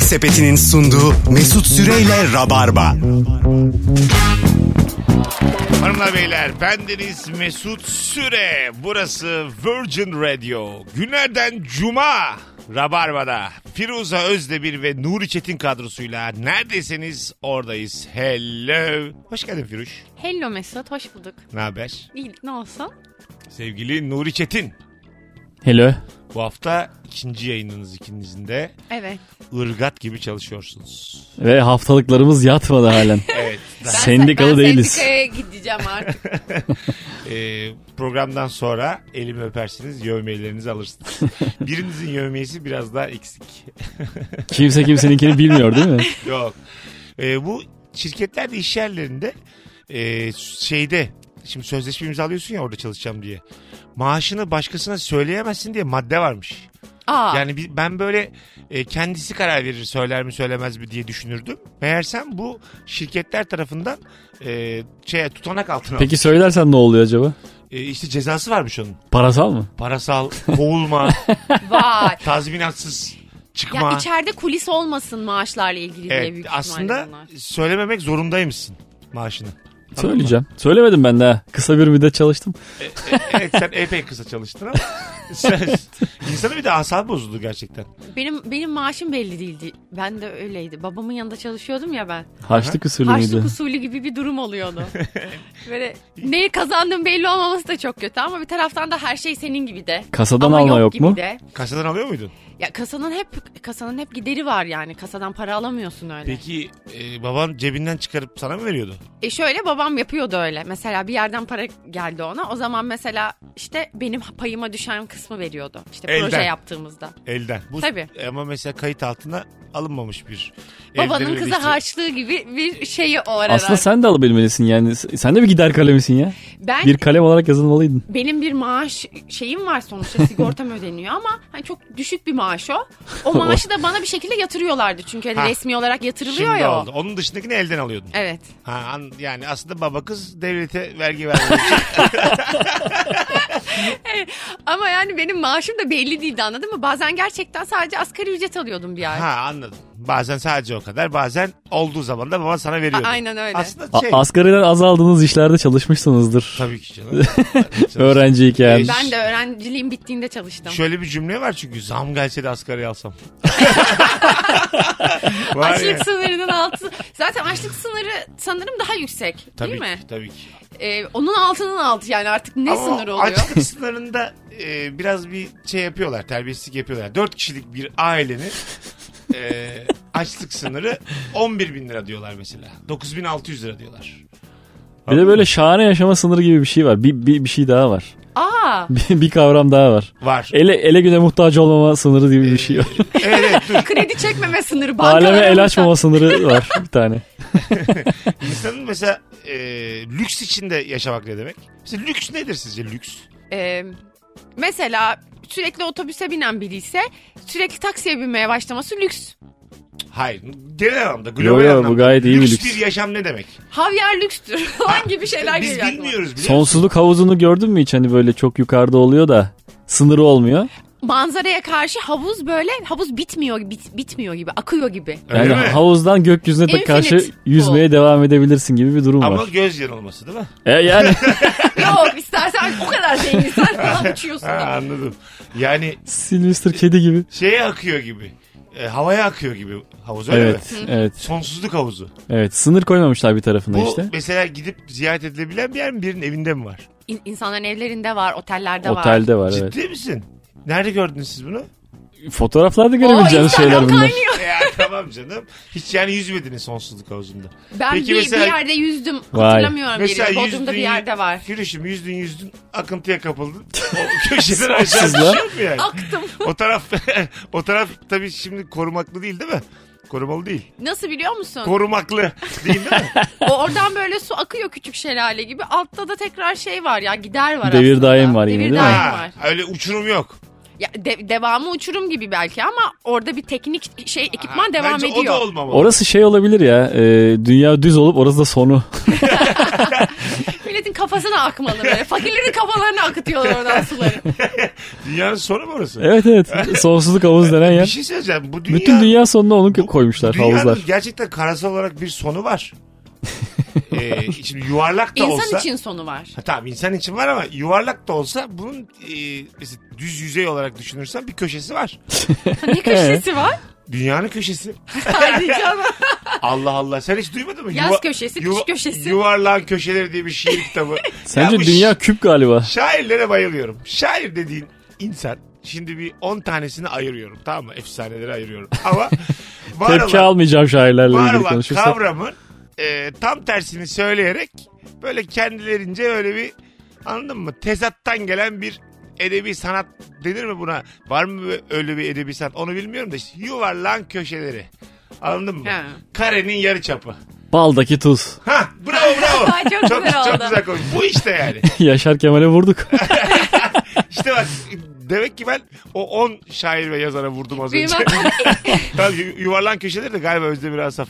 Sepeti'nin sunduğu Mesut Süreyle Rabarba. Hanımlar beyler bendeniz Mesut Süre. Burası Virgin Radio. Günlerden Cuma Rabarba'da Firuze Özdemir ve Nuri Çetin kadrosuyla neredesiniz oradayız. Hello. Hoş geldin Firuş. Hello Mesut, hoş bulduk. Ne haber? İyi, ne olsun? Sevgili Nuri Çetin. Hello. Bu hafta ikinci yayınınız ikinizin de Evet. ırgat gibi çalışıyorsunuz. Ve haftalıklarımız yatmadı halen. Evet. Sendikalı ben değiliz. sendikaya gideceğim artık. Ee, programdan sonra elimi öpersiniz, yövmeyelerinizi alırsınız. Birinizin yövmeyesi biraz daha eksik. Kimse kimseninkini bilmiyor değil mi? Yok. Ee, bu şirketlerde iş yerlerinde e, şeyde şimdi sözleşme imzalıyorsun ya orada çalışacağım diye. Maaşını başkasına söyleyemezsin diye madde varmış. Aa, Yani bi- ben böyle e, kendisi karar verir söyler mi söylemez mi diye düşünürdüm. Meğersem bu şirketler tarafından e, şey tutanak altına Peki söylersen ne oluyor acaba? E, işte cezası varmış onun. Parasal mı? Parasal, kovulma, vay. tazminatsız çıkma. ya içeride kulis olmasın maaşlarla ilgili diye evet, büyük ihtimalle aslında bunlar. söylememek zorundaymışsın maaşını. Anladın mı? Söyleyeceğim. Söylemedim ben daha. Kısa bir müddet çalıştım. evet sen epey kısa çalıştın ama söz. İnsanın bir de asabı bozuldu gerçekten. Benim benim maaşım belli değildi. Ben de öyleydi. Babamın yanında çalışıyordum ya ben. Harçlık usulü Harçlık müydü? usulü gibi bir durum oluyordu. Böyle neyi kazandığım belli olmaması da çok kötü ama bir taraftan da her şey senin gibi de. Kasadan Ama alma yok gibi mu? De. Kasadan alıyor muydun? Ya kasanın hep kasanın hep gideri var yani. Kasadan para alamıyorsun öyle. Peki e, baban cebinden çıkarıp sana mı veriyordu? E şöyle babam yapıyordu öyle. Mesela bir yerden para geldi ona. O zaman mesela işte benim payıma düşen kısmı veriyordu. İşte proje Elden. yaptığımızda. Elden. Bu, e, Tabii. Ama mesela kayıt altına alınmamış bir. Babanın evde kızı böyle harçlığı gibi bir şeyi o aralar. Aslında sen de alabilmelisin yani. Sen de bir gider kalemisin ya. ben Bir kalem olarak yazılmalıydın. benim bir maaş şeyim var sonuçta sigortam ödeniyor ama hani çok düşük bir maaş o. O maaşı da bana bir şekilde yatırıyorlardı çünkü hani Ha. resmi olarak Şimdi yatırılıyor ya. o. oldu. Onun dışındakini elden alıyordun. Evet. Ha, an- yani aslında baba kız devlete vergi vermiyor. Ama yani benim maaşım da belli değildi anladın mı? Bazen gerçekten sadece asgari ücret alıyordum bir ay. ha anladım. Bazen sadece o kadar bazen olduğu zaman da baban sana veriyordu. A- aynen öyle. Aslında A- şey. Asgariden az aldığınız işlerde çalışmışsınızdır. Tabii ki canım. Öğrenciyken. Ben de öğrenciliğim bittiğinde çalıştım. Şöyle bir cümle var çünkü zam gelse de asgari alsam. Var ya. Açlık sınırının altı. Zaten açlık sınırı sanırım daha yüksek Tabii değil mi? ki, tabii ki. Ee, onun altının altı yani artık ne Ama sınır oluyor? Açlık sınırında e, biraz bir şey yapıyorlar, terbiyesizlik yapıyorlar. Dört kişilik bir ailenin e, açlık sınırı 11 bin lira diyorlar mesela. 9600 lira diyorlar. Bir de böyle şahane yaşama sınırı gibi bir şey var. Bir, bir, bir şey daha var. Aa Bir, bir kavram daha var. Var. Ele, ele güne muhtaç olmama sınırı gibi bir şey var. evet evet, dur. kredi çekmeme sınırı Aleme bankalara el mı- açmama sınırı var bir tane. İnsanın mesela e, lüks içinde yaşamak ne demek? Mesela lüks nedir sizce lüks? Ee, mesela sürekli otobüse binen biri ise sürekli taksiye binmeye başlaması lüks. Hayır. Genel anlamda, Yo, global yo, bu anlamda. gayet iyi bir lüks. lüks. bir yaşam ne demek? Havyar lükstür falan gibi şeyler Biz geliyor aklıma. bilmiyoruz bile. Sonsuzluk havuzunu gördün mü hiç hani böyle çok yukarıda oluyor da sınırı olmuyor. Manzaraya karşı havuz böyle havuz bitmiyor bit- bitmiyor gibi akıyor gibi. Öyle Yani mi? havuzdan gökyüzüne de Infinite karşı pool. yüzmeye devam edebilirsin gibi bir durum Ama var. göz yanılması değil mi? E yani Yok istersen o kadar zenginsen falan uçuyorsun. Ha, anladım. Yani Sylvester kedi gibi. şeye akıyor gibi. E, havaya akıyor gibi havuz öyle mi? Evet, evet, Sonsuzluk havuzu. evet. Sınır koymamışlar bir tarafına Bu işte. mesela gidip ziyaret edilebilen bir yer mi? Birinin evinde mi var? İn- İnsanların evlerinde var, otellerde var. Otelde var evet. Ciddi misin? Nerede gördünüz siz bunu? Fotoğraflarda Oo, görebileceğiniz Instagram şeyler bunlar. kaynıyor. ya tamam canım. Hiç yani yüzmediniz sonsuzluk havuzunda. Ben Peki bir, mesela- bir yerde yüzdüm. Vay. Hatırlamıyorum Mesela yerini. yüzdün, Bodrum'da bir yerde var. Gülüşüm yüzdün yüzdün akıntıya kapıldın. O köşeden aşağı Sonsuzluğa. düşüyor mu yani? Aktım. O taraf o taraf tabii şimdi korumaklı değil değil mi? Korumalı değil. Nasıl biliyor musun? Korumaklı değil değil mi? O- Oradan böyle su akıyor küçük şelale gibi. Altta da tekrar şey var ya gider var Devir aslında. daim var yine, Devir değil mi? daim ha, var. öyle uçurum yok. Ya de- devamı uçurum gibi belki ama orada bir teknik şey ekipman Ha, devam Bence ediyor. o da olmamalı. Orası şey olabilir ya. e, dünya düz olup orası da sonu. Böyle milletin kafasına akmalı böyle. Fakirlerin kafalarına akıtıyorlar oradan suları. Dünyanın sonu mu orası? Evet evet. Sonsuzluk havuz denen Bir yer. şey söyleyeceğim. Bu dünya... Bütün dünya sonuna onu bu- koymuşlar dünyanın havuzlar. gerçekten karasal olarak bir sonu var. ee, şimdi yuvarlak da İnsan olsa... için sonu var. Ha, tamam insan için var ama yuvarlak da olsa bunun e, mesela düz yüzey olarak düşünürsen bir köşesi var. Ne köşesi var? Dünyanın köşesi. Hadi canım. Allah Allah sen hiç duymadın mı? Yaz köşesi, kış köşesi. Yuvarlağın köşeleri diye bir şiir kitabı. Sence Ya bu dünya küp galiba. Şairlere bayılıyorum. Şair dediğin insan şimdi bir 10 tanesini ayırıyorum tamam mı? Efsaneleri ayırıyorum. Ama var Tepki olan, almayacağım şairlerle var ilgili olan konuşursak. kavramın e, tam tersini söyleyerek böyle kendilerince öyle bir anladın mı? Tezattan gelen bir edebi sanat denir mi buna? Var mı öyle bir edebi sanat? Onu bilmiyorum da işte yuvarlan köşeleri. Anladın mı? Ha. Karenin yarı çapı. Baldaki tuz. Ha, bravo bravo. Çok güzel çok oldu. güzel konuş. Bu işte yani. Yaşar Kemal'e vurduk. İşte bak demek ki ben o 10 şair ve yazara vurdum az önce. Bilmem. e- Tabii yu- yuvarlan köşeleri de galiba Özdemir Asaf.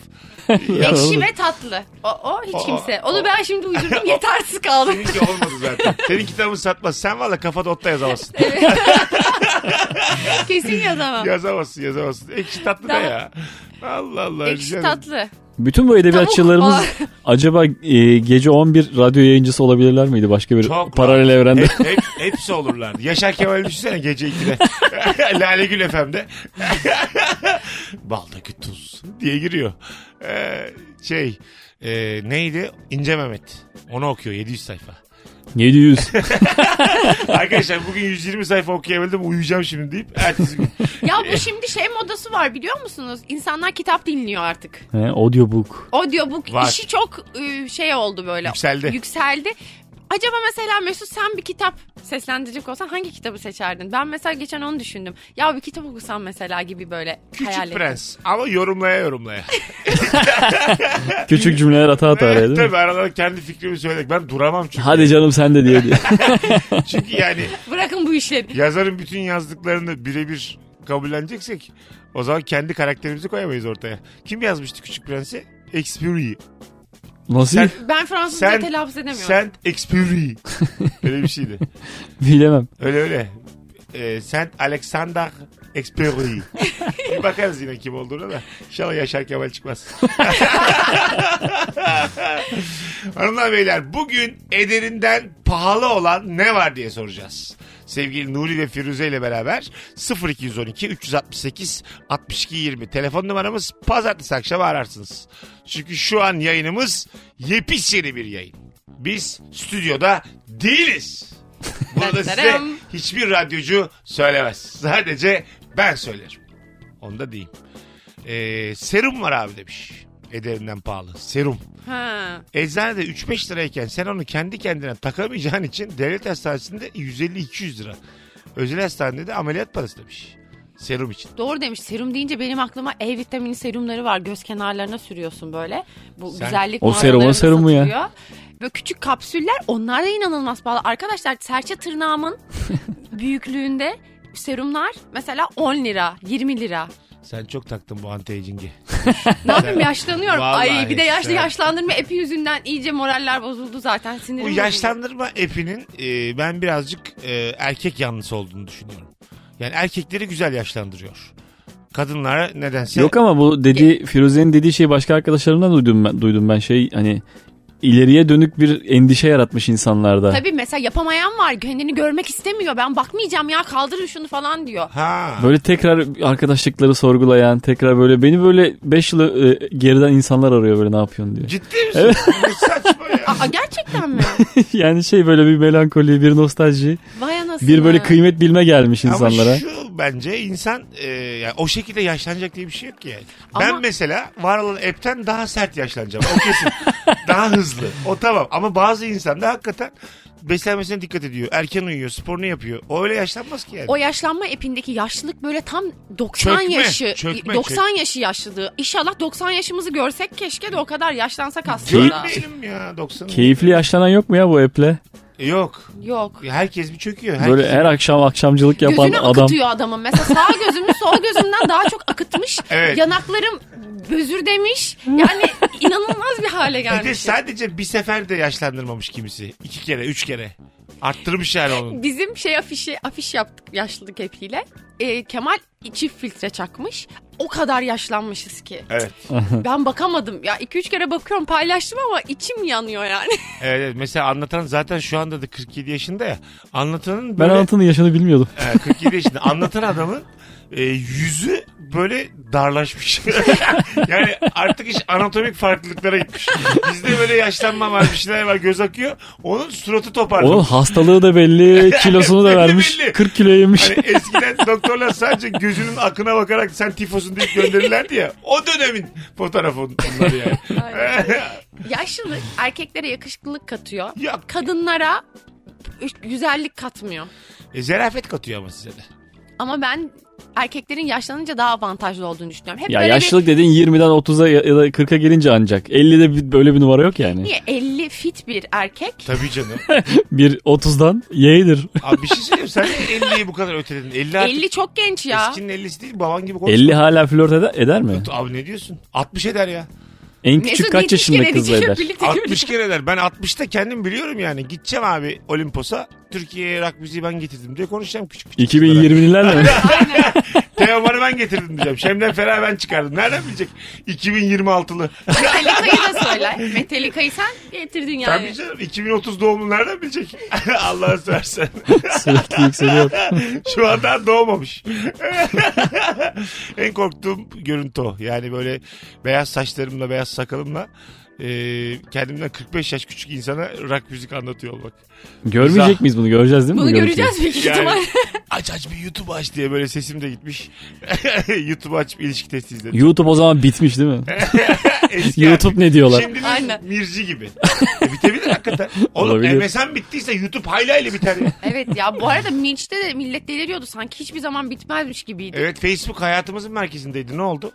Ekşi ve tatlı. O, o hiç kimse. Onu ben şimdi uydurdum yetersiz kaldım. Seninki şey olmadı zaten. Senin kitabın satmaz. Sen valla kafada otta yazamazsın. Kesin yazamam. yazamazsın yazamazsın. E, Ekşi tatlı ne Daha- ya? Allah Allah. Ekşi canım. tatlı. Bütün bu edebiyatçılarımız Tavuk acaba e, gece 11 radyo yayıncısı olabilirler miydi başka bir Çok paralel rahat. evrende? Hep, hep, hepsi olurlar. Yaşar Kemal düşünsene gece 2'de. Lale Gül FM'de. Baldaki tuz diye giriyor. Ee, şey e, neydi? İnce Mehmet. Onu okuyor 700 sayfa. 700. Arkadaşlar bugün 120 sayfa okuyabildim uyuyacağım şimdi deyip ertesi gün. Ya bu şimdi şey modası var biliyor musunuz? İnsanlar kitap dinliyor artık. He, audiobook. Audiobook Var. işi çok e, şey oldu böyle. Yükseldi. Yükseldi. Acaba mesela Mesut sen bir kitap seslendirecek olsan hangi kitabı seçerdin? Ben mesela geçen onu düşündüm. Ya bir kitap okusam mesela gibi böyle Küçük hayal ettim. Prens ama yorumlaya yorumlaya. Küçük cümleler ata ata araya değil mi? Tabii aralarda kendi fikrimi söyledik. Ben duramam çünkü. Hadi canım sen de diye diye. Çünkü yani Bırakın bu işleri. yazarın bütün yazdıklarını birebir kabulleneceksek o zaman kendi karakterimizi koyamayız ortaya. Kim yazmıştı Küçük Prens'i? Expiry. Nasıl? Sen- Ben Fransızca Sen- telaffuz edemiyorum. Saint Expiry. Öyle bir şeydi. Bilemem. Öyle öyle. Ee, Saint Alexander Expiry. bir bakarız yine kim olduğuna da. İnşallah Yaşar Kemal çıkmaz. Hanımlar beyler bugün ederinden pahalı olan ne var diye soracağız. Sevgili Nuri ve Firuze ile beraber 0212 368 62 20 telefon numaramız pazartesi akşamı ararsınız. Çünkü şu an yayınımız yepyeni bir yayın. Biz stüdyoda değiliz. Bunu da size Tadaram. hiçbir radyocu söylemez. Sadece ben söylerim. Onu da diyeyim. Ee, serum var abi demiş. Ederinden pahalı. Serum. Ha. Eczanede 3-5 lirayken sen onu kendi kendine takamayacağın için devlet hastanesinde 150-200 lira. Özel hastanede de ameliyat parası demiş. Serum için. Doğru demiş. Serum deyince benim aklıma E vitamini serumları var. Göz kenarlarına sürüyorsun böyle. Bu Sen- güzellik O serum, o mağazalarında serum mu ya? satılıyor. Böyle küçük kapsüller onlar da inanılmaz pahalı. Arkadaşlar serçe tırnağımın büyüklüğünde serumlar mesela 10 lira, 20 lira. Sen çok taktın bu anti-aging'i. Ne yapayım yaşlanıyorum. Vallahi Ay bir de yaşlı sen- yaşlandırma epi yüzünden iyice moraller bozuldu zaten. Sinirim Bu bozuldu. yaşlandırma epinin e, ben birazcık e, erkek yanlısı olduğunu düşünüyorum. Yani erkekleri güzel yaşlandırıyor. Kadınlara nedense... Yok ama bu dediği Firuze'nin dediği şeyi başka arkadaşlarımdan duydum ben, duydum ben şey hani ileriye dönük bir endişe yaratmış insanlarda. Tabii mesela yapamayan var. Kendini görmek istemiyor. Ben bakmayacağım ya kaldırın şunu falan diyor. Ha. Böyle tekrar arkadaşlıkları sorgulayan, tekrar böyle beni böyle 5 yıl e, geriden insanlar arıyor böyle ne yapıyorsun diye. Ciddi misin? Bu saçma ya. Aa, gerçekten mi? yani şey böyle bir melankoli, bir nostalji, Vay anasını. bir böyle kıymet bilme gelmiş insanlara. Ama şu bence insan e, yani o şekilde yaşlanacak diye bir şey yok ki yani. Ama- Ben mesela var olan app'ten daha sert yaşlanacağım. O kesin. daha hızlı. O tamam. Ama bazı insan da hakikaten beslenmesine dikkat ediyor. Erken uyuyor. Sporunu yapıyor. O öyle yaşlanmaz ki yani. O yaşlanma epindeki yaşlılık böyle tam 90 Çökme, yaşı. çökme, 90 yaşı yaşlılığı. İnşallah 90 yaşımızı görsek keşke de o kadar yaşlansak aslında. Görmeyelim ya 90. Keyifli yaşlanan yok mu ya bu eple? Yok. Yok. Herkes bir çöküyor. Herkes... Böyle her akşam akşamcılık yapan Gözünü adam. akıtıyor adamın. Mesela sağ gözümü sol gözümden daha çok akıtmış. Evet. Yanaklarım pözür demiş. Yani inanılmaz bir hale Bir de gelmiş. sadece bir sefer de yaşlandırmamış kimisi. İki kere, üç kere. Arttırmış yani onu. Bizim şey afişi afiş yaptık yaşlılık epiyle. Ee, Kemal çift filtre çakmış. O kadar yaşlanmışız ki. Evet. Ben bakamadım. Ya 2-3 kere bakıyorum paylaştım ama içim yanıyor yani. Evet, evet. mesela anlatan zaten şu anda da 47 yaşında ya. Anlatanın Ben böyle Anlatan'ın yaşını bilmiyordum. Ee, 47 yaşında anlatan adamın e, yüzü böyle darlaşmış. yani artık iş anatomik farklılıklara gitmiş. Bizde böyle yaşlanma var bir şeyler var göz akıyor. Onun suratı toparlamış. Onun hastalığı da belli, kilosunu da Belli, vermiş. belli. 40 kilo yemiş. Hani eskiden doktorlar sadece gözünün akına bakarak sen tifosun deyip gönderirlerdi ya. O dönemin fotoğrafı bunları yani. Yaşlılık erkeklere yakışıklılık katıyor. Ya. Kadınlara güzellik katmıyor. E, zerafet katıyor ama size de. Ama ben erkeklerin yaşlanınca daha avantajlı olduğunu düşünüyorum. Hep Ya böyle yaşlılık dediğin 20'den 30'a ya ya da 40'a gelince ancak. 50'de bir- böyle bir numara yok yani. bir niye 50 fit bir erkek Tabii canım. Bir 30'dan Y'dir. Abi bir şey söyleyeyim. Sen de 50'yi bu kadar öteledin. 50 artık 50 çok genç ya. eskinin 50'si değil. Baban gibi konuşma. 50 hala flört eder, eder mi? Abi ne diyorsun? 60 eder ya. En küçük kaç yaşında kız eder? 60 kere eder. Ben 60'ta kendim biliyorum yani. Gideceğim abi Olimpos'a. Türkiye'ye rock müziği ben getirdim diye konuşacağım küçük küçük. kızlara. 2020'lilerle mi? Teoman'ı ben getirdim diyeceğim. Şemden Ferah ben çıkardım. Nereden bilecek? 2026'lı. Metallica'yı da söyler. Metallica'yı sen getirdin yani. Tabii canım 2030 doğumlu nereden bilecek? Allah'a seversen. Sürekli yükseliyor. Şu an daha doğmamış. en korktuğum görüntü o. Yani böyle beyaz saçlarımla beyaz sakalımla e, kendimden 45 yaş küçük insana rock müzik anlatıyor olmak. Görmeyecek miyiz bunu? Göreceğiz değil mi? Bunu bu görüntüyü? göreceğiz büyük ihtimal. Yani aç aç bir YouTube aç diye böyle sesim de gitmiş. YouTube aç bir ilişki testi izledim. YouTube o zaman bitmiş değil mi? Eski YouTube ne diyorlar? Şimdi Aynen. Mirci gibi. E, bitebilir hakikaten. Oğlum Olabilir. MSN bittiyse YouTube haylayla biter ya. evet ya bu arada Minch'te de millet deliriyordu. Sanki hiçbir zaman bitmezmiş gibiydi. Evet Facebook hayatımızın merkezindeydi. Ne oldu?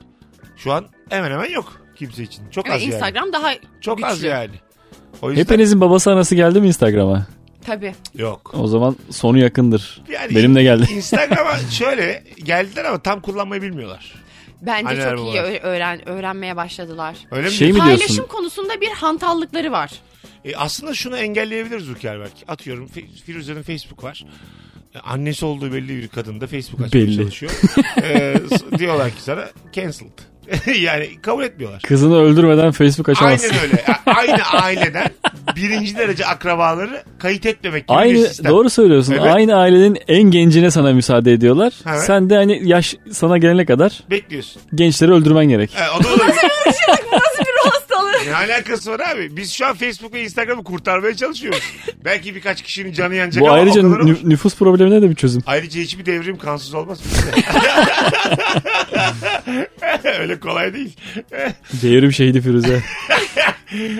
Şu an hemen hemen yok kimse için. Çok az Ve Instagram daha yani. Çok az güçlü. yani. O yüzden Hepinizin babası anası geldi mi Instagram'a? Tabii. yok. O zaman sonu yakındır. Yani Benim de geldi. Instagram'a şöyle geldiler ama tam kullanmayı bilmiyorlar. Bence Anneler çok iyi babalar. ö- öğren öğrenmeye başladılar. Öyle mi? Şey mi Paylaşım diyorsun? konusunda bir hantallıkları var. E, aslında şunu engelleyebilir Zuckerberg. Atıyorum Fe- Firuze'nin Facebook var. E, Annesi olduğu belli bir kadın da Facebook açmaya Belli. çalışıyor. E, s- diyorlar ki sana cancelled. yani kabul etmiyorlar. Kızını öldürmeden Facebook açamazsın. Aynen öyle. A- Aynı aileden birinci derece akrabaları kayıt etmemek gibi bir Aynı sistem. doğru söylüyorsun. Evet. Aynı ailenin en gencine sana müsaade ediyorlar. Evet. Sen de hani yaş sana gelene kadar Bekliyorsun. gençleri öldürmen gerek. E, o da olabilir. şey Nasıl bir hastalığı? ne alakası var abi? Biz şu an Facebook ve Instagram'ı kurtarmaya çalışıyoruz. Belki birkaç kişinin canı yanacak Bu ama o ayrıca kadar olur. nü- nüfus problemine de bir çözüm. Ayrıca hiçbir devrim kansız olmaz. Öyle kolay değil. Devrim şehidi şey Firuze.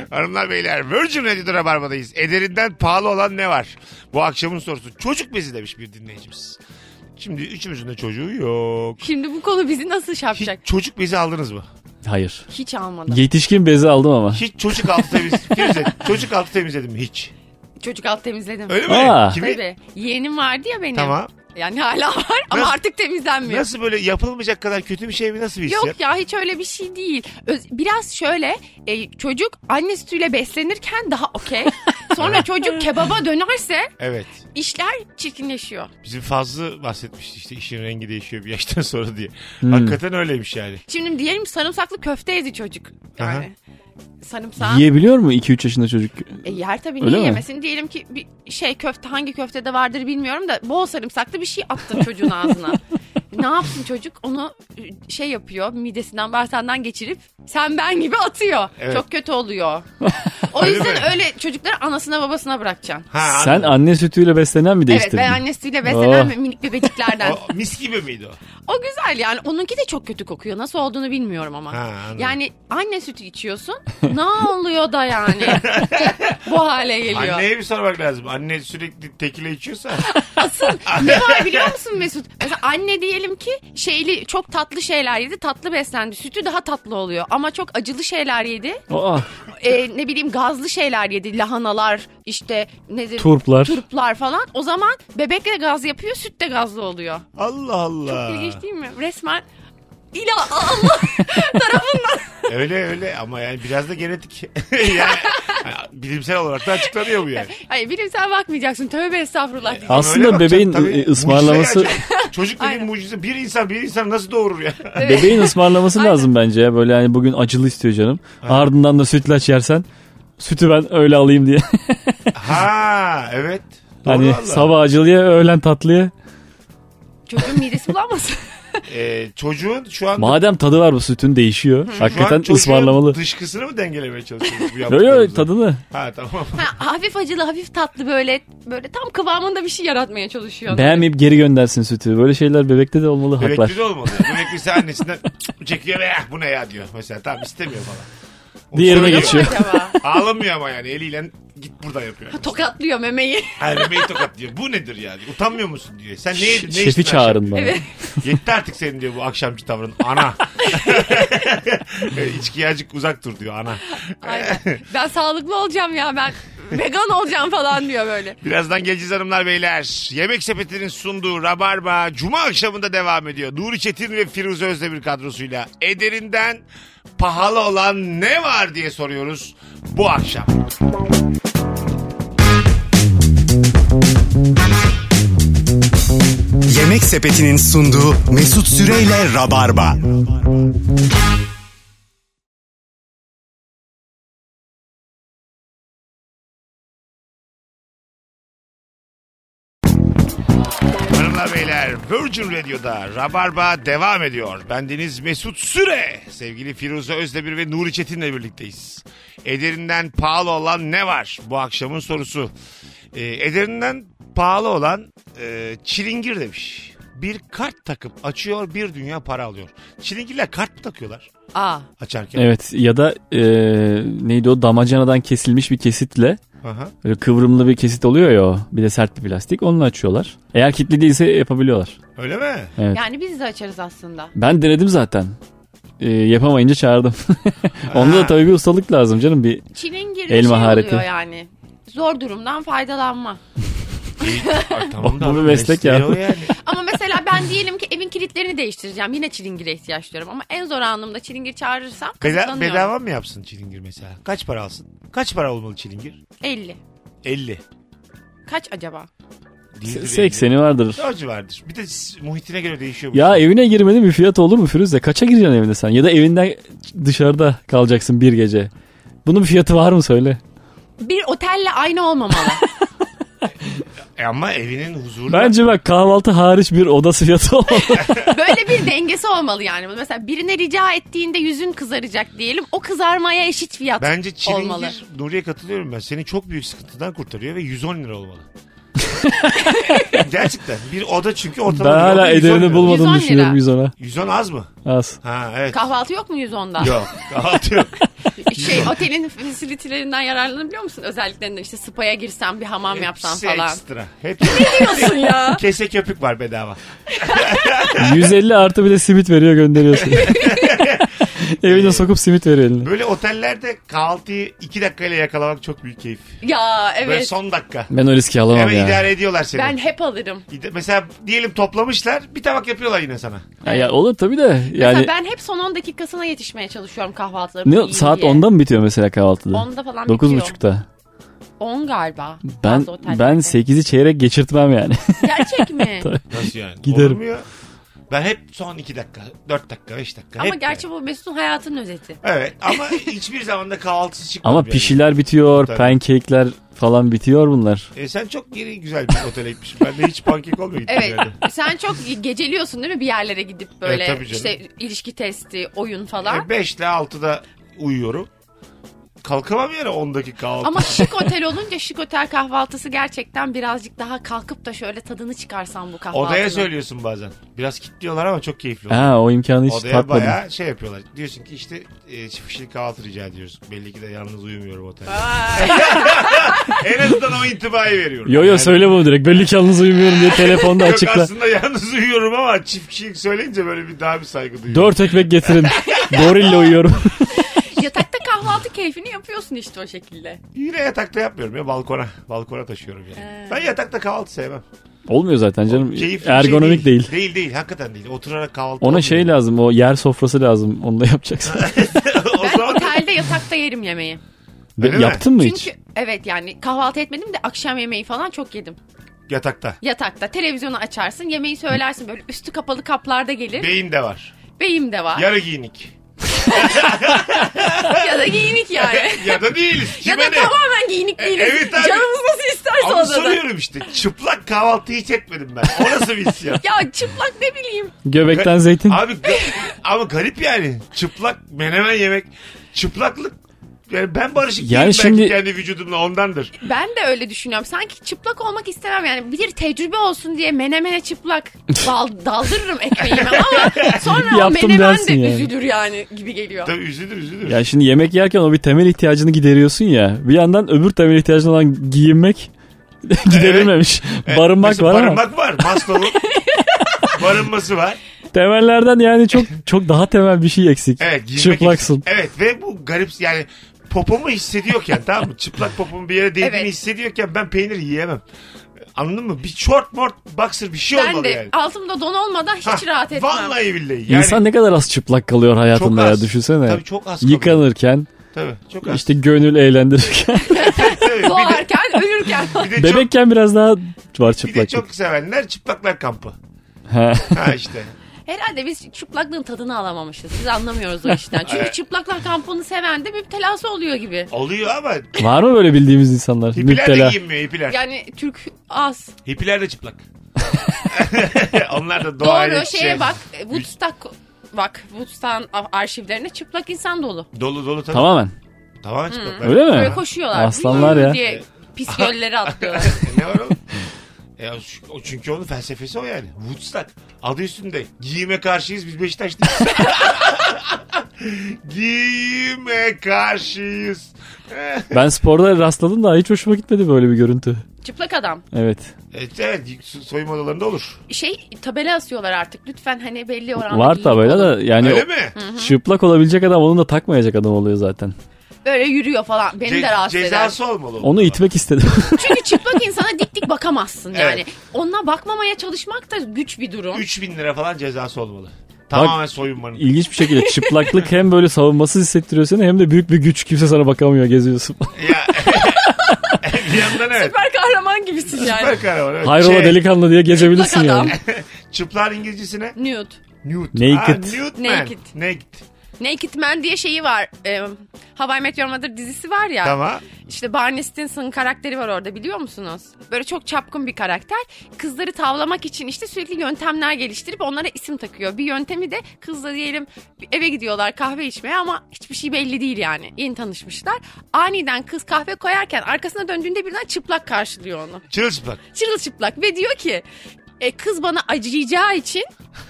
Hanımlar beyler Virgin Radio'da Rabarba'dayız. Ederinden pahalı olan ne var? Bu akşamın sorusu çocuk bezi demiş bir dinleyicimiz. Şimdi üçümüzün de çocuğu yok. Şimdi bu konu bizi nasıl Hiç şapacak? çocuk bezi aldınız mı? Hayır. Hiç, almadım. Yetişkin bezi aldım ama. Hiç çocuk altı temiz, temizledim. Çocuk altı temizledim mi? hiç. Çocuk alt temizledim. Öyle mi? Aa. Kimi? Tabii. Yeğenim vardı ya benim. Tamam. Yani hala var ama Nasıl- artık temizlenmiyor. Nasıl böyle yapılmayacak kadar kötü bir şey mi? Nasıl bir hissiyat? Yok ya hiç öyle bir şey değil. Öz- biraz şöyle e, çocuk anne sütüyle beslenirken daha okey. Sonra çocuk kebaba dönerse Evet. işler çirkinleşiyor. Bizim Fazlı bahsetmişti işte işin rengi değişiyor bir yaştan sonra diye. Hmm. Hakikaten öyleymiş yani. Şimdi diyelim sarımsaklı köfte yedi çocuk. Yani sarımsak. Yiyebiliyor mu 2-3 yaşında çocuk? E, yer tabii Öyle niye mi? yemesin? Diyelim ki bir şey köfte hangi köftede vardır bilmiyorum da bol sarımsaklı bir şey attın çocuğun ağzına. ne yapsın çocuk? Onu e, şey yapıyor midesinden bağırsağından geçirip sen ben gibi atıyor. Evet. Çok kötü oluyor. o Öyle yüzden mi? öyle çocukları anasına babasına bırakacaksın. Ha, Sen anladım. anne sütüyle beslenen mi Evet değiştirdin? ben annesiyle beslenen Oh. minik bebeciklerden. O, mis gibi miydi o? O güzel yani. Onunki de çok kötü kokuyor. Nasıl olduğunu bilmiyorum ama. Ha, anladım. yani anne sütü içiyorsun. ne oluyor da yani? Bu hale geliyor. Anneye bir sormak lazım. Anne sürekli tekile içiyorsa. Ne var biliyor musun Mesut? Mesela anne diyelim ki şeyli çok tatlı şeyler yedi. Tatlı beslendi. Sütü daha tatlı oluyor. Ama çok acılı şeyler yedi. Aa, Ee, ne bileyim gazlı şeyler yedi. Lahanalar işte nedir? turplar. Turplar falan. O zaman bebek de gaz yapıyor, süt de gazlı oluyor. Allah Allah. İlginç değil mi? Resmen ilah Allah tarafından. Öyle öyle ama yani biraz da genetik. yani, bilimsel olarak da açıklanıyor bu yani. Hayır bilimsel bakmayacaksın. Tövbe estağfurullah. diyeceğim. Ama öyle Aslında bakacaksın, bebeğin, tabii, e, mucize ısmarlaması- ya. Çocuk- Çocuk dediğin Aynen. mucize. Bir insan bir insan nasıl doğurur ya? Bebeğin ısmarlaması lazım bence ya. Böyle hani bugün acılı istiyor canım. Ardından da sütlaç yersen sütü ben öyle alayım diye. ha evet. Doğru hani valla. sabah acılıya öğlen tatlıya. Çocuğun midesi bulanmasın. Ee, çocuğun şu an Madem tadı var bu sütün değişiyor. Hakikaten ısmarlamalı. Dışkısını mı dengelemeye çalışıyoruz bu Yo yo yaptıklarımızla? tadını. Ha tamam. Ha, hafif acılı hafif tatlı böyle böyle tam kıvamında bir şey yaratmaya çalışıyor. Beğenmeyip geri göndersin sütü. Böyle şeyler bebekte de olmalı haklar. Bebekli de olmalı. Bebeklisi annesinden çekiyor ve "Ah, bu ne ya diyor. Mesela tamam istemiyor falan. O Diğerine söylüyor geçiyor. ama acaba? Ağlamıyor ama yani eliyle git buradan yapıyor. Tokatlıyor memeyi. Her memeyi tokat diyor. Bu nedir yani? Utanmıyor musun diyor. Sen ne yedin? Ne içtin Şefi akşam? çağırın bana. Yetti artık senin diyor bu akşamki tavrın. Ana. İçkiye azıcık uzak dur diyor ana. Aynen. Ben sağlıklı olacağım ya ben vegan olacağım falan diyor böyle. Birazdan geleceğiz hanımlar beyler. Yemek Sepeti'nin sunduğu Rabarba Cuma akşamında devam ediyor. Nuri Çetin ve Firuze Özdemir kadrosuyla Eder'inden pahalı olan ne var diye soruyoruz bu akşam. Yemek Sepeti'nin sunduğu Mesut Süreyle Rabarba. Hanımlar beyler Virgin Radio'da Rabarba devam ediyor. Bendeniz Mesut Süre. Sevgili Firuze Özdemir ve Nuri Çetin'le birlikteyiz. Ederinden pahalı olan ne var? Bu akşamın sorusu. Ee, ederinden pahalı olan e, çilingir demiş. Bir kart takıp açıyor bir dünya para alıyor. Çilingirler kart mı takıyorlar Aa. açarken? Evet ya da e, neydi o damacanadan kesilmiş bir kesitle Aha. böyle kıvrımlı bir kesit oluyor ya o. Bir de sert bir plastik onunla açıyorlar. Eğer kilitli değilse yapabiliyorlar. Öyle mi? Evet. Yani biz de açarız aslında. Ben denedim zaten. E, yapamayınca çağırdım. Onda da tabii bir ustalık lazım canım bir. Çilingir El şey mahareti. oluyor yani. Zor durumdan faydalanma. Ay, tamam da Bu bir meslek ya. mesleği o yani. Ama mesela ben diyelim ki evin kilitlerini değiştireceğim. Yine çilingire ihtiyaç duyuyorum. Ama en zor anımda çilingir çağırırsam Beda- kazıklanıyorum. bedava mı yapsın çilingir mesela? Kaç para alsın? Kaç para olmalı çilingir? 50. 50. Kaç acaba? Değildir 50. 80'i vardır. Borcu vardır. Bir de s- muhitine göre değişiyor bu. Ya evine girmenin bir fiyatı olur mu Firuze? Kaça gireceksin evine sen? Ya da evinden dışarıda kalacaksın bir gece. Bunun bir fiyatı var mı söyle? Bir otelle aynı olmamalı. E ama evinin huzuru. Bence bak kahvaltı hariç bir odası fiyatı olmalı. Böyle bir dengesi olmalı yani. Mesela birine rica ettiğinde yüzün kızaracak diyelim. O kızarmaya eşit fiyat Bence çilingir olmalı. Nuriye katılıyorum ben. Seni çok büyük sıkıntıdan kurtarıyor ve 110 lira olmalı. Gerçekten. Bir oda çünkü ben ortalama. bir oda hala 110 ederini lira. 110 bulmadığını lira. düşünüyorum 110'a. 110 az mı? Az. Ha evet. Kahvaltı yok mu 110'da? Yok. Kahvaltı yok. Şey otelin fasilitelerinden yararlanabiliyor musun? Özelliklerinden işte spa'ya girsem bir Şey, hamam yapsam Hepsi falan. ekstra. Hepsi. Diyorsun ya. Kese köpük var bedava. 150 artı bir de simit veriyor gönderiyorsun. Evine sokup simit veriyor eline. Böyle otellerde kahvaltıyı 2 dakikayla yakalamak çok büyük keyif. Ya Böyle evet. son dakika. Ben o riski alamam Hemen ya. idare ediyorlar seni. Ben hep alırım. İde- Mesela diyelim toplamışlar bir tabak yapıyorlar yine sana. Ya, ya olur tabii de Mesela yani ben hep son 10 dakikasına yetişmeye çalışıyorum kahvaltılarımı. ne saat 10'da mı bitiyor mesela kahvaltıda? 10'da falan bitiyor. 9.30'da. 10 galiba. Ben bazı otellerde. ben 8'i çeyrek geçirtmem yani. Gerçek mi? Nasıl yani? Giderim. Olur mu ya? Ben hep son 2 dakika, 4 dakika, 5 dakika. Ama hep gerçi yani. bu Mesut'un hayatının özeti. Evet ama hiçbir zaman da kahvaltısı çıkmıyor. Ama yani. pişiler bitiyor, Tabii. pancake'ler falan bitiyor bunlar. E sen çok geri güzel bir otele gitmişsin. Ben de hiç pankek olmuyor gittim Evet. yani. Sen çok geceliyorsun değil mi bir yerlere gidip böyle Evet, E, tabii canım. işte ilişki testi, oyun falan. E 5 ile 6'da uyuyorum. Kalkamam yani 10 dakika kahvaltı. Ama şık otel olunca şık otel kahvaltısı gerçekten birazcık daha kalkıp da şöyle tadını çıkarsan bu kahvaltının. Odaya söylüyorsun bazen. Biraz kilitliyorlar ama çok keyifli oluyor. Ha o imkanı hiç Odaya tatmadım. bayağı şey yapıyorlar. Diyorsun ki işte e, çift kişilik kahvaltı rica ediyoruz. Belli ki de yalnız uyumuyorum otelde. en azından o intibayı veriyorum. Yo yo Yani- söyle bunu direkt. Belli ki yalnız uyumuyorum diye telefonda Yok açıkla. aslında yalnız uyuyorum ama çift kişilik söyleyince böyle bir daha bir saygı duyuyorum. Dört ekmek getirin. Gorille uyuyorum. Yatakta kahvaltı keyfini yapıyorsun işte o şekilde. Yine yatakta yapmıyorum ya balkona. Balkona taşıyorum yani. Ben yatakta kahvaltı sevmem. Olmuyor zaten canım. Keyifli bir Ergonomik şey değil. Değil değil hakikaten değil. Oturarak kahvaltı Ona olmuyor. şey lazım o yer sofrası lazım. Onu da yapacaksın. o Ben zaman otelde yatakta yerim yemeği. Ve Öyle mi? Yaptın mı hiç? Çünkü evet yani kahvaltı etmedim de akşam yemeği falan çok yedim. yatakta. Yatakta televizyonu açarsın yemeği söylersin böyle üstü kapalı kaplarda gelir. Beyin de var. Beyim de var. Yarı giyinik. ya da giyinik yani. ya da değiliz. ya Kime da ne? tamamen giyinik değiliz. E, evet abi. Canımız nasıl isterse Ama odada. soruyorum işte. Çıplak kahvaltı hiç etmedim ben. O nasıl bir isyan? Ya çıplak ne bileyim. Göbekten zeytin. Abi ga- ama garip yani. Çıplak menemen yemek. Çıplaklık yani ben barışık Yani değilim şimdi- belki kendi vücudumla ondandır. Ben de öyle düşünüyorum. Sanki çıplak olmak istemem yani. Bir tecrübe olsun diye menemene çıplak dal- daldırırım ekmeğime ama sonra o Yaptım menemen de dersin yani. üzülür yani gibi geliyor. Tabii üzülür üzülür. Ya şimdi yemek yerken o bir temel ihtiyacını gideriyorsun ya. Bir yandan öbür temel ihtiyacın olan giyinmek giderilmemiş. Evet, barınmak mesela var ama Barınmak var. Maslow'un barınması var. temellerden yani çok çok daha temel bir şey eksik. Evet. giymek Çıplaksın. için. Evet ve bu garip yani popomu hissediyorken tamam mı? Çıplak popomu bir yere değdiğini Evet. hissediyorken ben peynir yiyemem. Anladın mı? Bir short mort boxer bir şey Ben olmalı de yani. altımda don olmadan hiç Ha, rahat etmem. Vallahi billahi. Yani İnsan ne kadar az çıplak kalıyor hayatında Çok ya az. düşünsene. Tabii çok az kalıyor. Yıkanırken, Tabii çok az. işte gönül eğlendirirken. Tabii, bir de- Doğarken, ölürken. bir de çok Bebekken biraz daha var Bir de çıplaklık. çok sevenler çıplaklar kampı. Ha. Ha işte. Herhalde biz çıplaklığın tadını alamamışız. Biz anlamıyoruz o işten. Çünkü çıplaklar kampını seven de müptelası oluyor gibi. Oluyor ama Var mı böyle bildiğimiz insanlar? hippiler Müptela. de giyinmiyor hippiler. Yani Türk az. Hippiler de çıplak. Onlar da doğayla Doğru iç içe. şeye bak. e, Woodstock bak. Woodstock'ın a- arşivlerine çıplak insan dolu. Dolu dolu tabii. Tamam. Tamamen. Tamamen çıplaklar. Öyle mi? Böyle koşuyorlar. Aslanlar "Vıyy" ya. Diye pis göllere atlıyorlar. ne var oğlum? E, o şu- o çünkü onun felsefesi o yani. Woodstock. Adı üstünde. Giyime karşıyız biz Beşiktaşlıyız. Giyime karşıyız. Ben sporda rastladım da hiç hoşuma gitmedi böyle bir görüntü. çıplak adam. Evet. Evet, E, evet so- soyunma odalarında olur. Şey tabela asıyorlar artık. Lütfen hani belli oranda. Var giyin tabela olun. da yani Öyle Hani o- mi? çıplak olabilecek adam onu da takmayacak adam oluyor zaten. Böyle yürüyor falan. Beni de Ce- rahatsız eder. cezası olmalı. Onu itme. itmek istedim. Çünkü çıplak insana dik dik bakamazsın Evet. yani. Onunla bakmamaya çalışmak da güç bir durum. 3000 lira falan cezası olmalı. Tamamen soyunmanın. İlginç bir şekilde çıplaklık hem böyle savunmasız hissettiriyor seni hem de büyük bir güç kimse sana bakamıyor geziyorsun. ya. bir yandan evet. Süper kahraman gibisin yani. Süper kahraman. Evet. Hayrola Şey, delikanlı diye gezebilirsin Çıplak adam. yani. Çıplağın İngilizcesine Nude. nude. Naked. Ha, nude man. Naked. Naked. Naked Man diye şeyi var. E, How I Met Your Mother dizisi var ya. Tamam. İşte Barney Stinson'ın karakteri var orada biliyor musunuz? Böyle çok çapkın bir karakter. Kızları tavlamak için işte sürekli yöntemler geliştirip onlara isim takıyor. Bir yöntemi de kızla diyelim eve gidiyorlar kahve içmeye ama hiçbir şey belli değil yani. Yeni tanışmışlar. Aniden kız kahve koyarken arkasına döndüğünde birden çıplak karşılıyor onu. Çırılçıplak. Çırılçıplak ve diyor ki e, kız bana acıyacağı için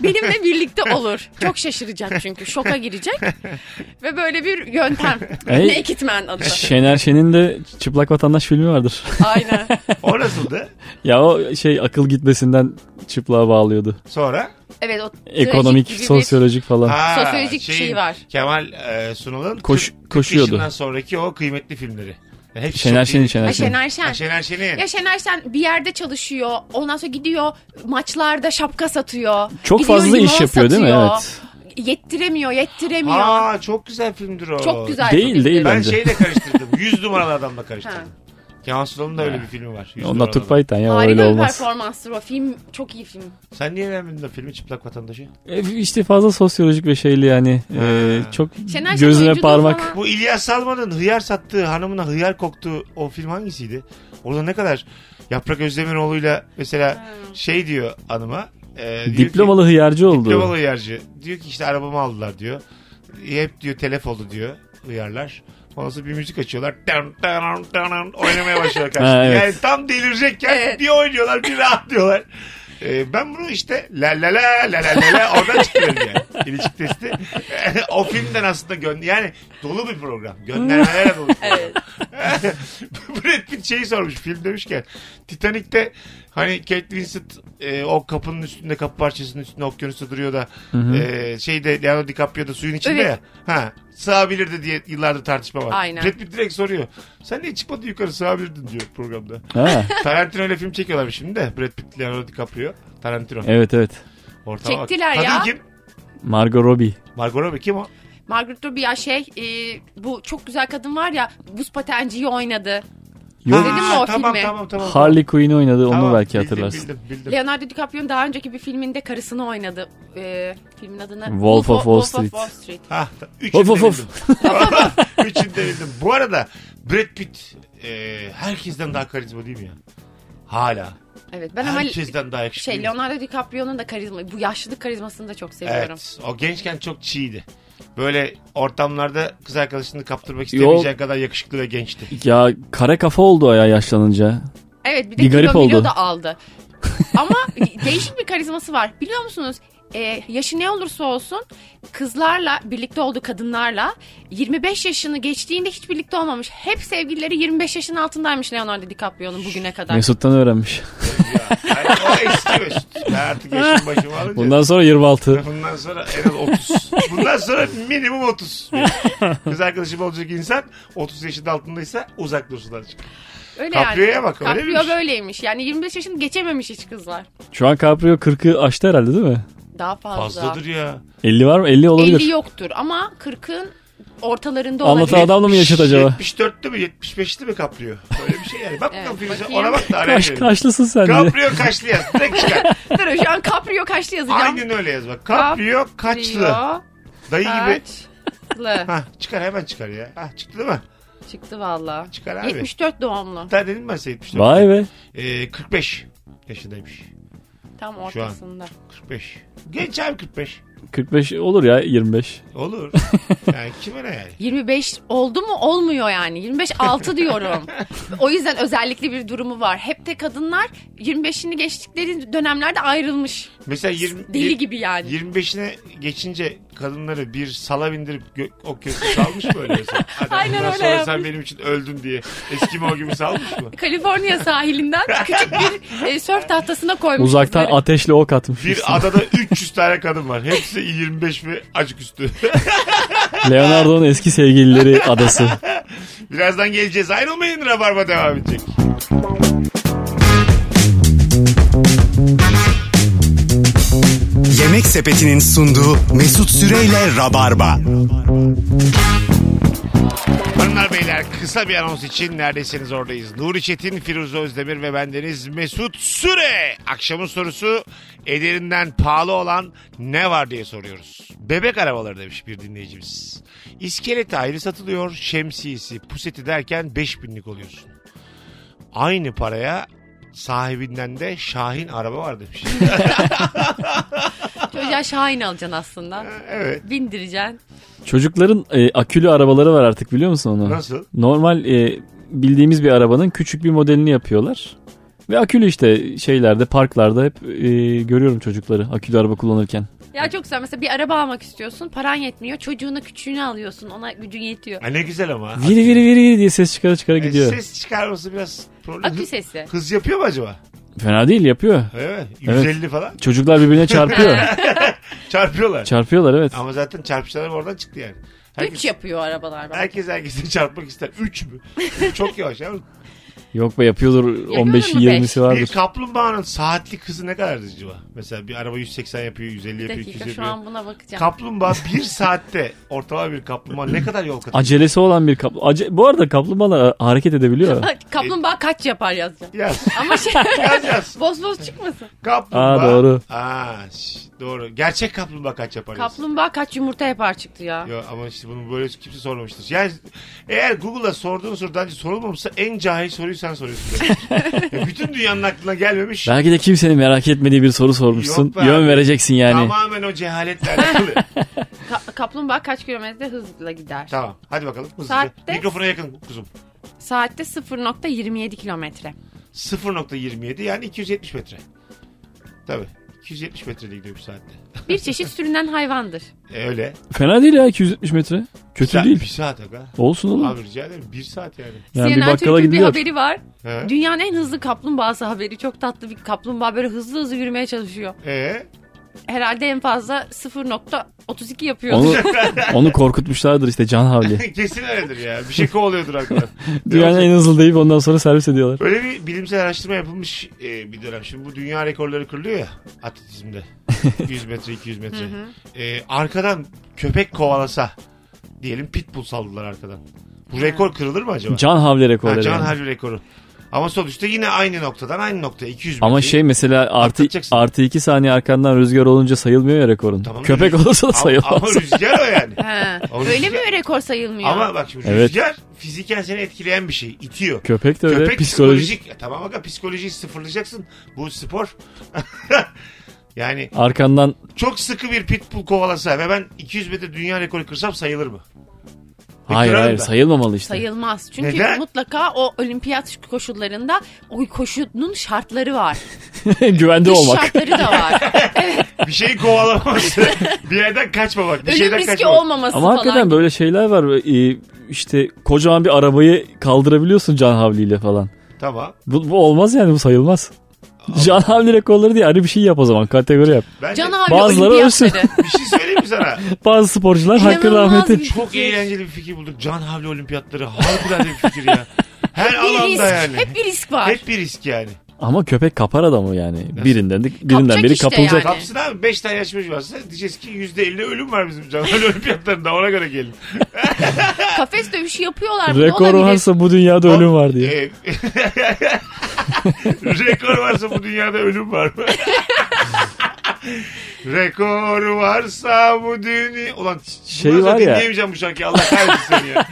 benimle birlikte olur. Çok şaşıracak çünkü şoka girecek. Ve böyle bir yöntem. Ey. Naked Man adı. Şener Şen'in de Çıplak Vatandaş filmi vardır. Aynen. O nasıldı? ya o şey akıl gitmesinden çıplığa bağlıyordu. Sonra? Evet o Ekonomik, trajik gibi sosyolojik falan. Ha, Sosyolojik bir şey var. Kemal e, Sunal'ın Koş- 40 koşuyordu. yaşından sonraki o kıymetli filmleri. Yani hepsi Şener çok iyi. Şen'in bir- Ha, Şener Şen'in. Şener Ha, Şen. Şener Şen'in. Ya Şener Şen bir yerde çalışıyor. Ondan sonra gidiyor maçlarda şapka satıyor. Çok Gidiyor fazla iş limon yapıyor değil mi? satıyor. Evet. Yettiremiyor, yettiremiyor. Aa çok güzel filmdir o. Çok güzel. Değil, bir değil. film. Ben Bence. şeyle karıştırdım. 100 numaralı adamla karıştırdım. Kemal Sunal'ın da öyle bir filmi var. 100 Onda numaralı Türk adam. Baytan ya o öyle Harika bir olmaz. performanstır o. Film çok iyi film. Sen niye önemli o filmi Çıplak Vatandaşı? E, işte fazla sosyolojik ve şeyli yani. E, Ha. çok Şener Şen gözüne oyunculuğu parmak. falan- Bu İlyas Salman'ın hıyar sattığı hanımına hıyar koktuğu o film hangisiydi? Orada ne kadar Yaprak Özdemiroğlu'yla mesela şey diyor hanıma. e, diyor Diplomalı hıyarcı ki, oldu. diplomalı hıyarcı. Diyor ki işte arabamı aldılar diyor. Hep diyor telef oldu diyor hıyarlar. Ondan sonra bir müzik açıyorlar. Dın dın dın dın oynamaya başlıyorlar karşısında. Ha, evet. Yani tam delirecekken Evet. bir oynuyorlar bir rahatlıyorlar. Ee, ben bunu işte la la la la la la la oradan çıkıyorum yani. İlişki testi. o filmden aslında gönder yani dolu bir program. Göndermelerle dolu. Evet. Brad Pitt şeyi sormuş film demişken Titanic'te hani Kate Winslet e, o kapının üstünde kapı parçasının üstünde okyanusta duruyor da e, şeyde Leonardo DiCaprio da suyun içinde Evet. ya. Ha, sığabilirdi diye yıllardır tartışma var. Aynen. Brad Pitt direkt soruyor. Sen niye çıkmadın yukarı sığabilirdin diyor programda. Ha, Tarantino ile film çekiyorlar şimdi de. Brad Pitt, Leonardo DiCaprio. Tarantino. evet evet. Ortama bak. Çektiler Kadın ya. kim? Margot Robbie. Margot Robbie kim o? Margaret Robbie ya şey e, bu çok güzel kadın var ya buz patenciyi oynadı. Yok. Dedim mi o tamam, filmi? Tamam tamam. Harley Quinn oynadı Tamam, onu belki bildim, hatırlarsın. Bildim bildim. Leonardo DiCaprio'nun daha önceki bir filminde karısını oynadı. E, filmin adını Wolf of Wall Street. Ha, ta- üçünü Of de of of. bildim. Üçünü de bildim. Bu arada Brad Pitt e, herkesten daha karizma değil mi ya? Hala. Evet ben ama Herkesten daha yakışıklı. şey değil mi? Leonardo DiCaprio'nun da karizma bu yaşlılık karizmasını da çok seviyorum. Evet. O gençken çok çiğdi. Böyle ortamlarda kız arkadaşını kaptırmak Yo. istemeyeceği kadar yakışıklı ve gençti. Ya kara kafa oldu o ya yaşlanınca. Evet bir de Bir garip kilo milo oldu. da aldı. Ama değişik bir karizması var. Biliyor musunuz? Ee, yaşı ne olursa olsun kızlarla birlikte olduğu kadınlarla 25 yaşını geçtiğinde hiç birlikte olmamış. Hep sevgilileri 25 yaşın altındaymış Leonardo DiCaprio'nun bugüne kadar. Mesut'tan öğrenmiş. Yani o eski Mesut. Ben artık yaşım başımı alınca. Bundan sonra 26. Bundan sonra en az 30. Bundan sonra minimum 30. Kız arkadaşım olacak insan 30 yaşın altındaysa uzak dursun azıcık. Öyle Caprio'ya bak, öyle Caprio miymiş? böyleymiş. Yani 25 yaşını geçememiş hiç kızlar. Şu an Caprio 40'ı aştı herhalde değil mi? Daha fazla. Fazladır ya. 50 var mı? 50 olabilir. 50 yoktur ama 40'ın ortalarında olabilir. Anlatan adamla mı yaşadı acaba? 74'lü mü 75'li mi kaplıyor? Öyle bir şey yani. Bak bakalım Evet, Firuze bakayım. ona bak da araya Kaş, verelim. kaşlısın sen de. Kaprio kaçlı yaz. Direkt çıkar. Dur, Şu an Caprio kaçlı yazacağım. Aynen öyle yaz bak. Kaprio kaçlı. Caprio Dayı gibi. kaçlı. Ha çıkar hemen çıkar ya. Ha çıktı değil mi? Çıktı valla. Çıkar abi. 74 doğumlu. Daha dedim ben size 74. Vay be. Ee, 45 yaşındaymış. Tam Şu an. ortasında. 45. Genç abi 45. 45 olur ya 25. Olur. Yani kime ne yani? 25 oldu mu olmuyor yani. 25 6 diyorum. o yüzden özellikle bir durumu var. Hep de kadınlar 25'ini geçtikleri dönemlerde ayrılmış. Mesela 20, Deli gibi yani. 25'ine geçince kadınları bir sala bindirip gö- okyanusu salmış mı öyle mesela? Hadi Aynen bundan öyle sonra sen yapmış. benim için öldün diye. Eskimo gibi salmış mı? Kaliforniya sahilinden küçük bir e, sörf tahtasına koymuş. Uzaktan kızları. ateşle ok atmış. Bir adada 300 tane kadın var. Hepsi 25 ve acık üstü. Leonardo'nun eski sevgilileri adası. Birazdan geleceğiz. Ayrılmayın. Rabarba devam edecek. Yemek Sepeti'nin sunduğu Mesut Süreyle Rabarba. Hanımlar beyler kısa bir anons için neredesiniz oradayız. Nuri Çetin, Firuze Özdemir ve bendeniz Mesut Süre. Akşamın sorusu ederinden pahalı olan ne var diye soruyoruz. Bebek arabaları demiş bir dinleyicimiz. İskeleti ayrı satılıyor, şemsiyesi, puseti derken 5000'lik oluyorsun. Aynı paraya sahibinden de Şahin araba var demiş. Çocuğa Şahin alacaksın aslında. evet. Bindireceksin. Çocukların e, akülü arabaları var artık biliyor musun onu? Nasıl? Normal e, bildiğimiz bir arabanın küçük bir modelini yapıyorlar. Ve akülü işte şeylerde parklarda hep e, görüyorum çocukları akülü araba kullanırken. Ya çok güzel. Mesela bir araba almak istiyorsun. Paran yetmiyor. Çocuğuna küçüğünü alıyorsun. Ona gücün yetiyor. Ha, ne güzel ama. Viri viri viri viri diye ses çıkara çıkara E, gidiyor. ses çıkarması biraz problem. Akü sesi. Hız yapıyor mu acaba? Fena değil yapıyor. Evet. Evet. 150 falan. Çocuklar birbirine çarpıyor. Çarpıyorlar. Çarpıyorlar evet. Ama zaten çarpışanlar oradan çıktı yani. Üç Herkes, yapıyor arabalar. bak. herkes herkese çarpmak ister. Üç mü? Çok yavaş ya. Yok be yapıyordur Yapıyor 15'i mu beş? 20'si Bir vardır. kaplumbağanın saatlik hızı ne kadar acaba? Mesela bir araba 180 yapıyor, 150 Bir yapıyor, 200 dakika şu yapıyor. an buna bakacağım. Kaplumbağa bir saatte ortalama bir kaplumbağa ne kadar yol kat Acelesi olan bir kaplı. Ace- Bu arada kaplumbağalar hareket edebiliyor. E- Kaplumbağa kaç yapar yazacağım. Yaz. Ama şey Yaz yaz. boz boz çıkmasın. Kaplumbağa. Aa, doğru. Aa, şş, doğru. Gerçek kaplumbağa kaç yapar? yaz? Kaplumbağa kaç yumurta yapar çıktı ya. Yo, ama işte bunu böyle kimse sormamıştır. Yani eğer Google'a sorduğun sorudan önce sorulmamışsa en cahil soruyu sen soruyorsun. demek. Ya bütün dünyanın aklına gelmemiş. Belki de kimsenin merak etmediği bir soru sormuşsun. Yok be abi. Yön vereceksin yani. Tamamen o cehaletle alakalı. Ka- kaplumbağa kaç kilometre hızla gider? Tamam hadi bakalım hızlıca. Saatte? Mikrofona yakın kuzum. Saatte 0.27 kilometre. 0.27 yani 270 metre. Tabii. 270 metrede gidiyor bir saatte. Bir çeşit sürünen hayvandır. E, öyle. Fena değil ya 270 metre. Kötü Sa- Bir değil. saat aga. Olsun oğlum. Abi rica ederim. Bir saat yani. yani bir CNN bakkala Türk'ün bir gidiyor. haberi var. He. Dünyanın en hızlı kaplumbağası haberi. Çok tatlı bir kaplumbağa böyle hızlı hızlı yürümeye çalışıyor. E, Herhalde en fazla 0.32 yapıyor. Onu, onu korkutmuşlardır işte Can Havli. kesin öyledir ya. Bir şey kovalıyordur arkadan. Dünyanın en hızlı deyip ondan sonra servis ediyorlar. Böyle bir bilimsel araştırma yapılmış e, bir dönem. Şimdi bu dünya rekorları kırılıyor ya atletizmde. 100 metre 200 metre. E, arkadan köpek kovalasa diyelim pitbull saldılar arkadan. Bu rekor kırılır mı acaba? Can Havli Ha, rekorları. can yani. harbi rekoru. Ama sonuçta yine aynı noktadan aynı noktaya 200 metre. Ama şey mesela artı, Atlatacaksın. artı iki saniye arkandan rüzgar olunca sayılmıyor ya rekorun. Tamam, Köpek rüzgar- olursa da ama, sayılmaz. ama rüzgar o yani. He. O Öyle rüzgar- mi rekor sayılmıyor? ama bak şimdi Evet. rüzgar fiziken seni etkileyen bir şey. itiyor. Köpek de öyle Köpek psikolojik. psikolojik. Ya tamam aga psikolojiyi sıfırlayacaksın. Bu spor. yani Arkandan çok sıkı bir pitbull kovalasa ve ben 200 metre dünya rekoru kırsam sayılır mı? Ve hayır kırarım hayır da. sayılmamalı işte. Sayılmaz. Çünkü Neden? mutlaka o olimpiyat koşullarında o koşunun şartları var. Güvende Dış olmak. şartları da var. Bir şeyi kovalaması. bir yerden kaçmamak. Bir Ölüm şeyden riski kaçmamak. olmaması Ama falan. hakikaten böyle şeyler var. Ee, işte kocaman bir arabayı kaldırabiliyorsun Can Havli ile falan. Tamam. Bu, bu olmaz yani bu sayılmaz. Can Havli rekorları diye ayrı bir şey yap o zaman kategori yap. Ben de Can abi Bazıları olimpiyatları. bir şey söyleyeyim mi sana? Bazı sporcular hakkı İnanılmaz rahmeti. bir- Çok eğlenceli bir fikir bulduk. Can Havli Olimpiyatları harikulade bir fikir ya. Her Bir alanda risk. yani. Hep bir risk var. Hep bir risk yani. Ama köpek kapar adamı yani. Birinden de- birinden Kapacak biri işte kapılacak. yani. Kapsın abi 5 tane yaşmış varsa diyeceğiz ki %50 ölüm var bizim Can Havli Olimpiyatlarında ona göre gelin. Kafes dövüşü yapıyorlar. Bu Rekor olabilir. varsa bu dünyada ölüm var diye. Ee, rekor varsa bu dünyada ölüm var mı? rekor varsa bu dünya... Ulan Şey bundan sonra var ya- Dinleyemeyeceğim bu şarkıyı Allah kahretsin seni ya.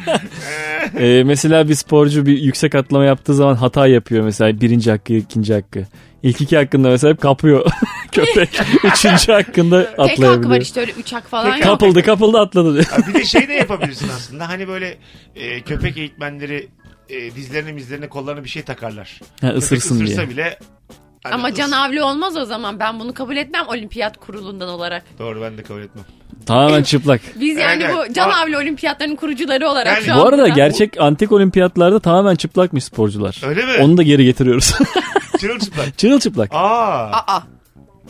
Ee, mesela bir sporcu bir yüksek atlama yaptığı zaman hata yapıyor mesela birinci hakkı ikinci hakkı. İlk iki hakkında mesela hep kapıyor köpek. Üçüncü hakkında Tek hak var atlayabiliyor. işte öyle üç hak falan yok. Kapıldı kapıldı atladı diyor. Ha, bir de şey de yapabilirsin aslında. Hani böyle e, köpek eğitmenleri e, dizlerine mizlerine kollarına bir şey takarlar. Ha, Köpek ısırsın ısırsa diye. bile hani Ama ıs- Can Avli olmaz o zaman. Ben bunu kabul etmem olimpiyat kurulundan olarak. Doğru ben de kabul etmem. Tamamen çıplak. Biz yani Evet, bu evet. Can Ama- Avli olimpiyatlarının kurucuları olarak Yani- şu an Bu arada burada- gerçek antik olimpiyatlarda tamamen çıplakmış sporcular. Öyle mi? Onu da geri getiriyoruz. Çırılçıplak. Çırılçıplak. Aa, Aa,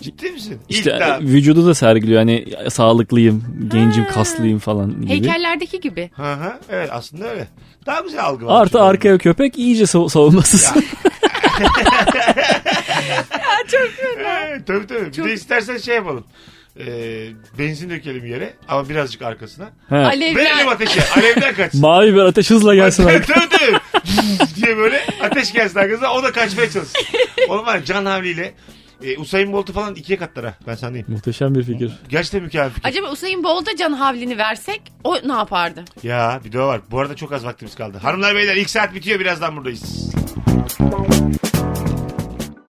ciddi misin? İşte İlk daha. vücudu da sergiliyor hani sağlıklıyım, gencim, kaslıyım falan gibi. heykellerdeki gibi. Hı hı, evet aslında öyle. Daha güzel algı var. Artı arkaya köpek iyice sav- savunmasız. Ee, tabii tabii. Bir Çok- de istersen şey yapalım. Ee, benzin dökelim yere ama birazcık arkasına. He. Verelim Alevler. ateşe. Alevden kaçsın. Mavi bir ateş hızla gelsin. tabii abi. tabii. tabii. diye böyle ateş gelsin arkasına o da kaçmaya çalışsın. Oğlum var ya, Can Havli ile e, Usain Bolt'u falan ikiye katlara. Ben sendeyim. Muhteşem bir fikir. Gerçekten mükemmel fikir. Acaba Usain Bolt'a Can Havli'ni versek o ne yapardı? Ya bir de o var. Bu arada çok az vaktimiz kaldı. Hanımlar beyler ilk saat bitiyor birazdan buradayız.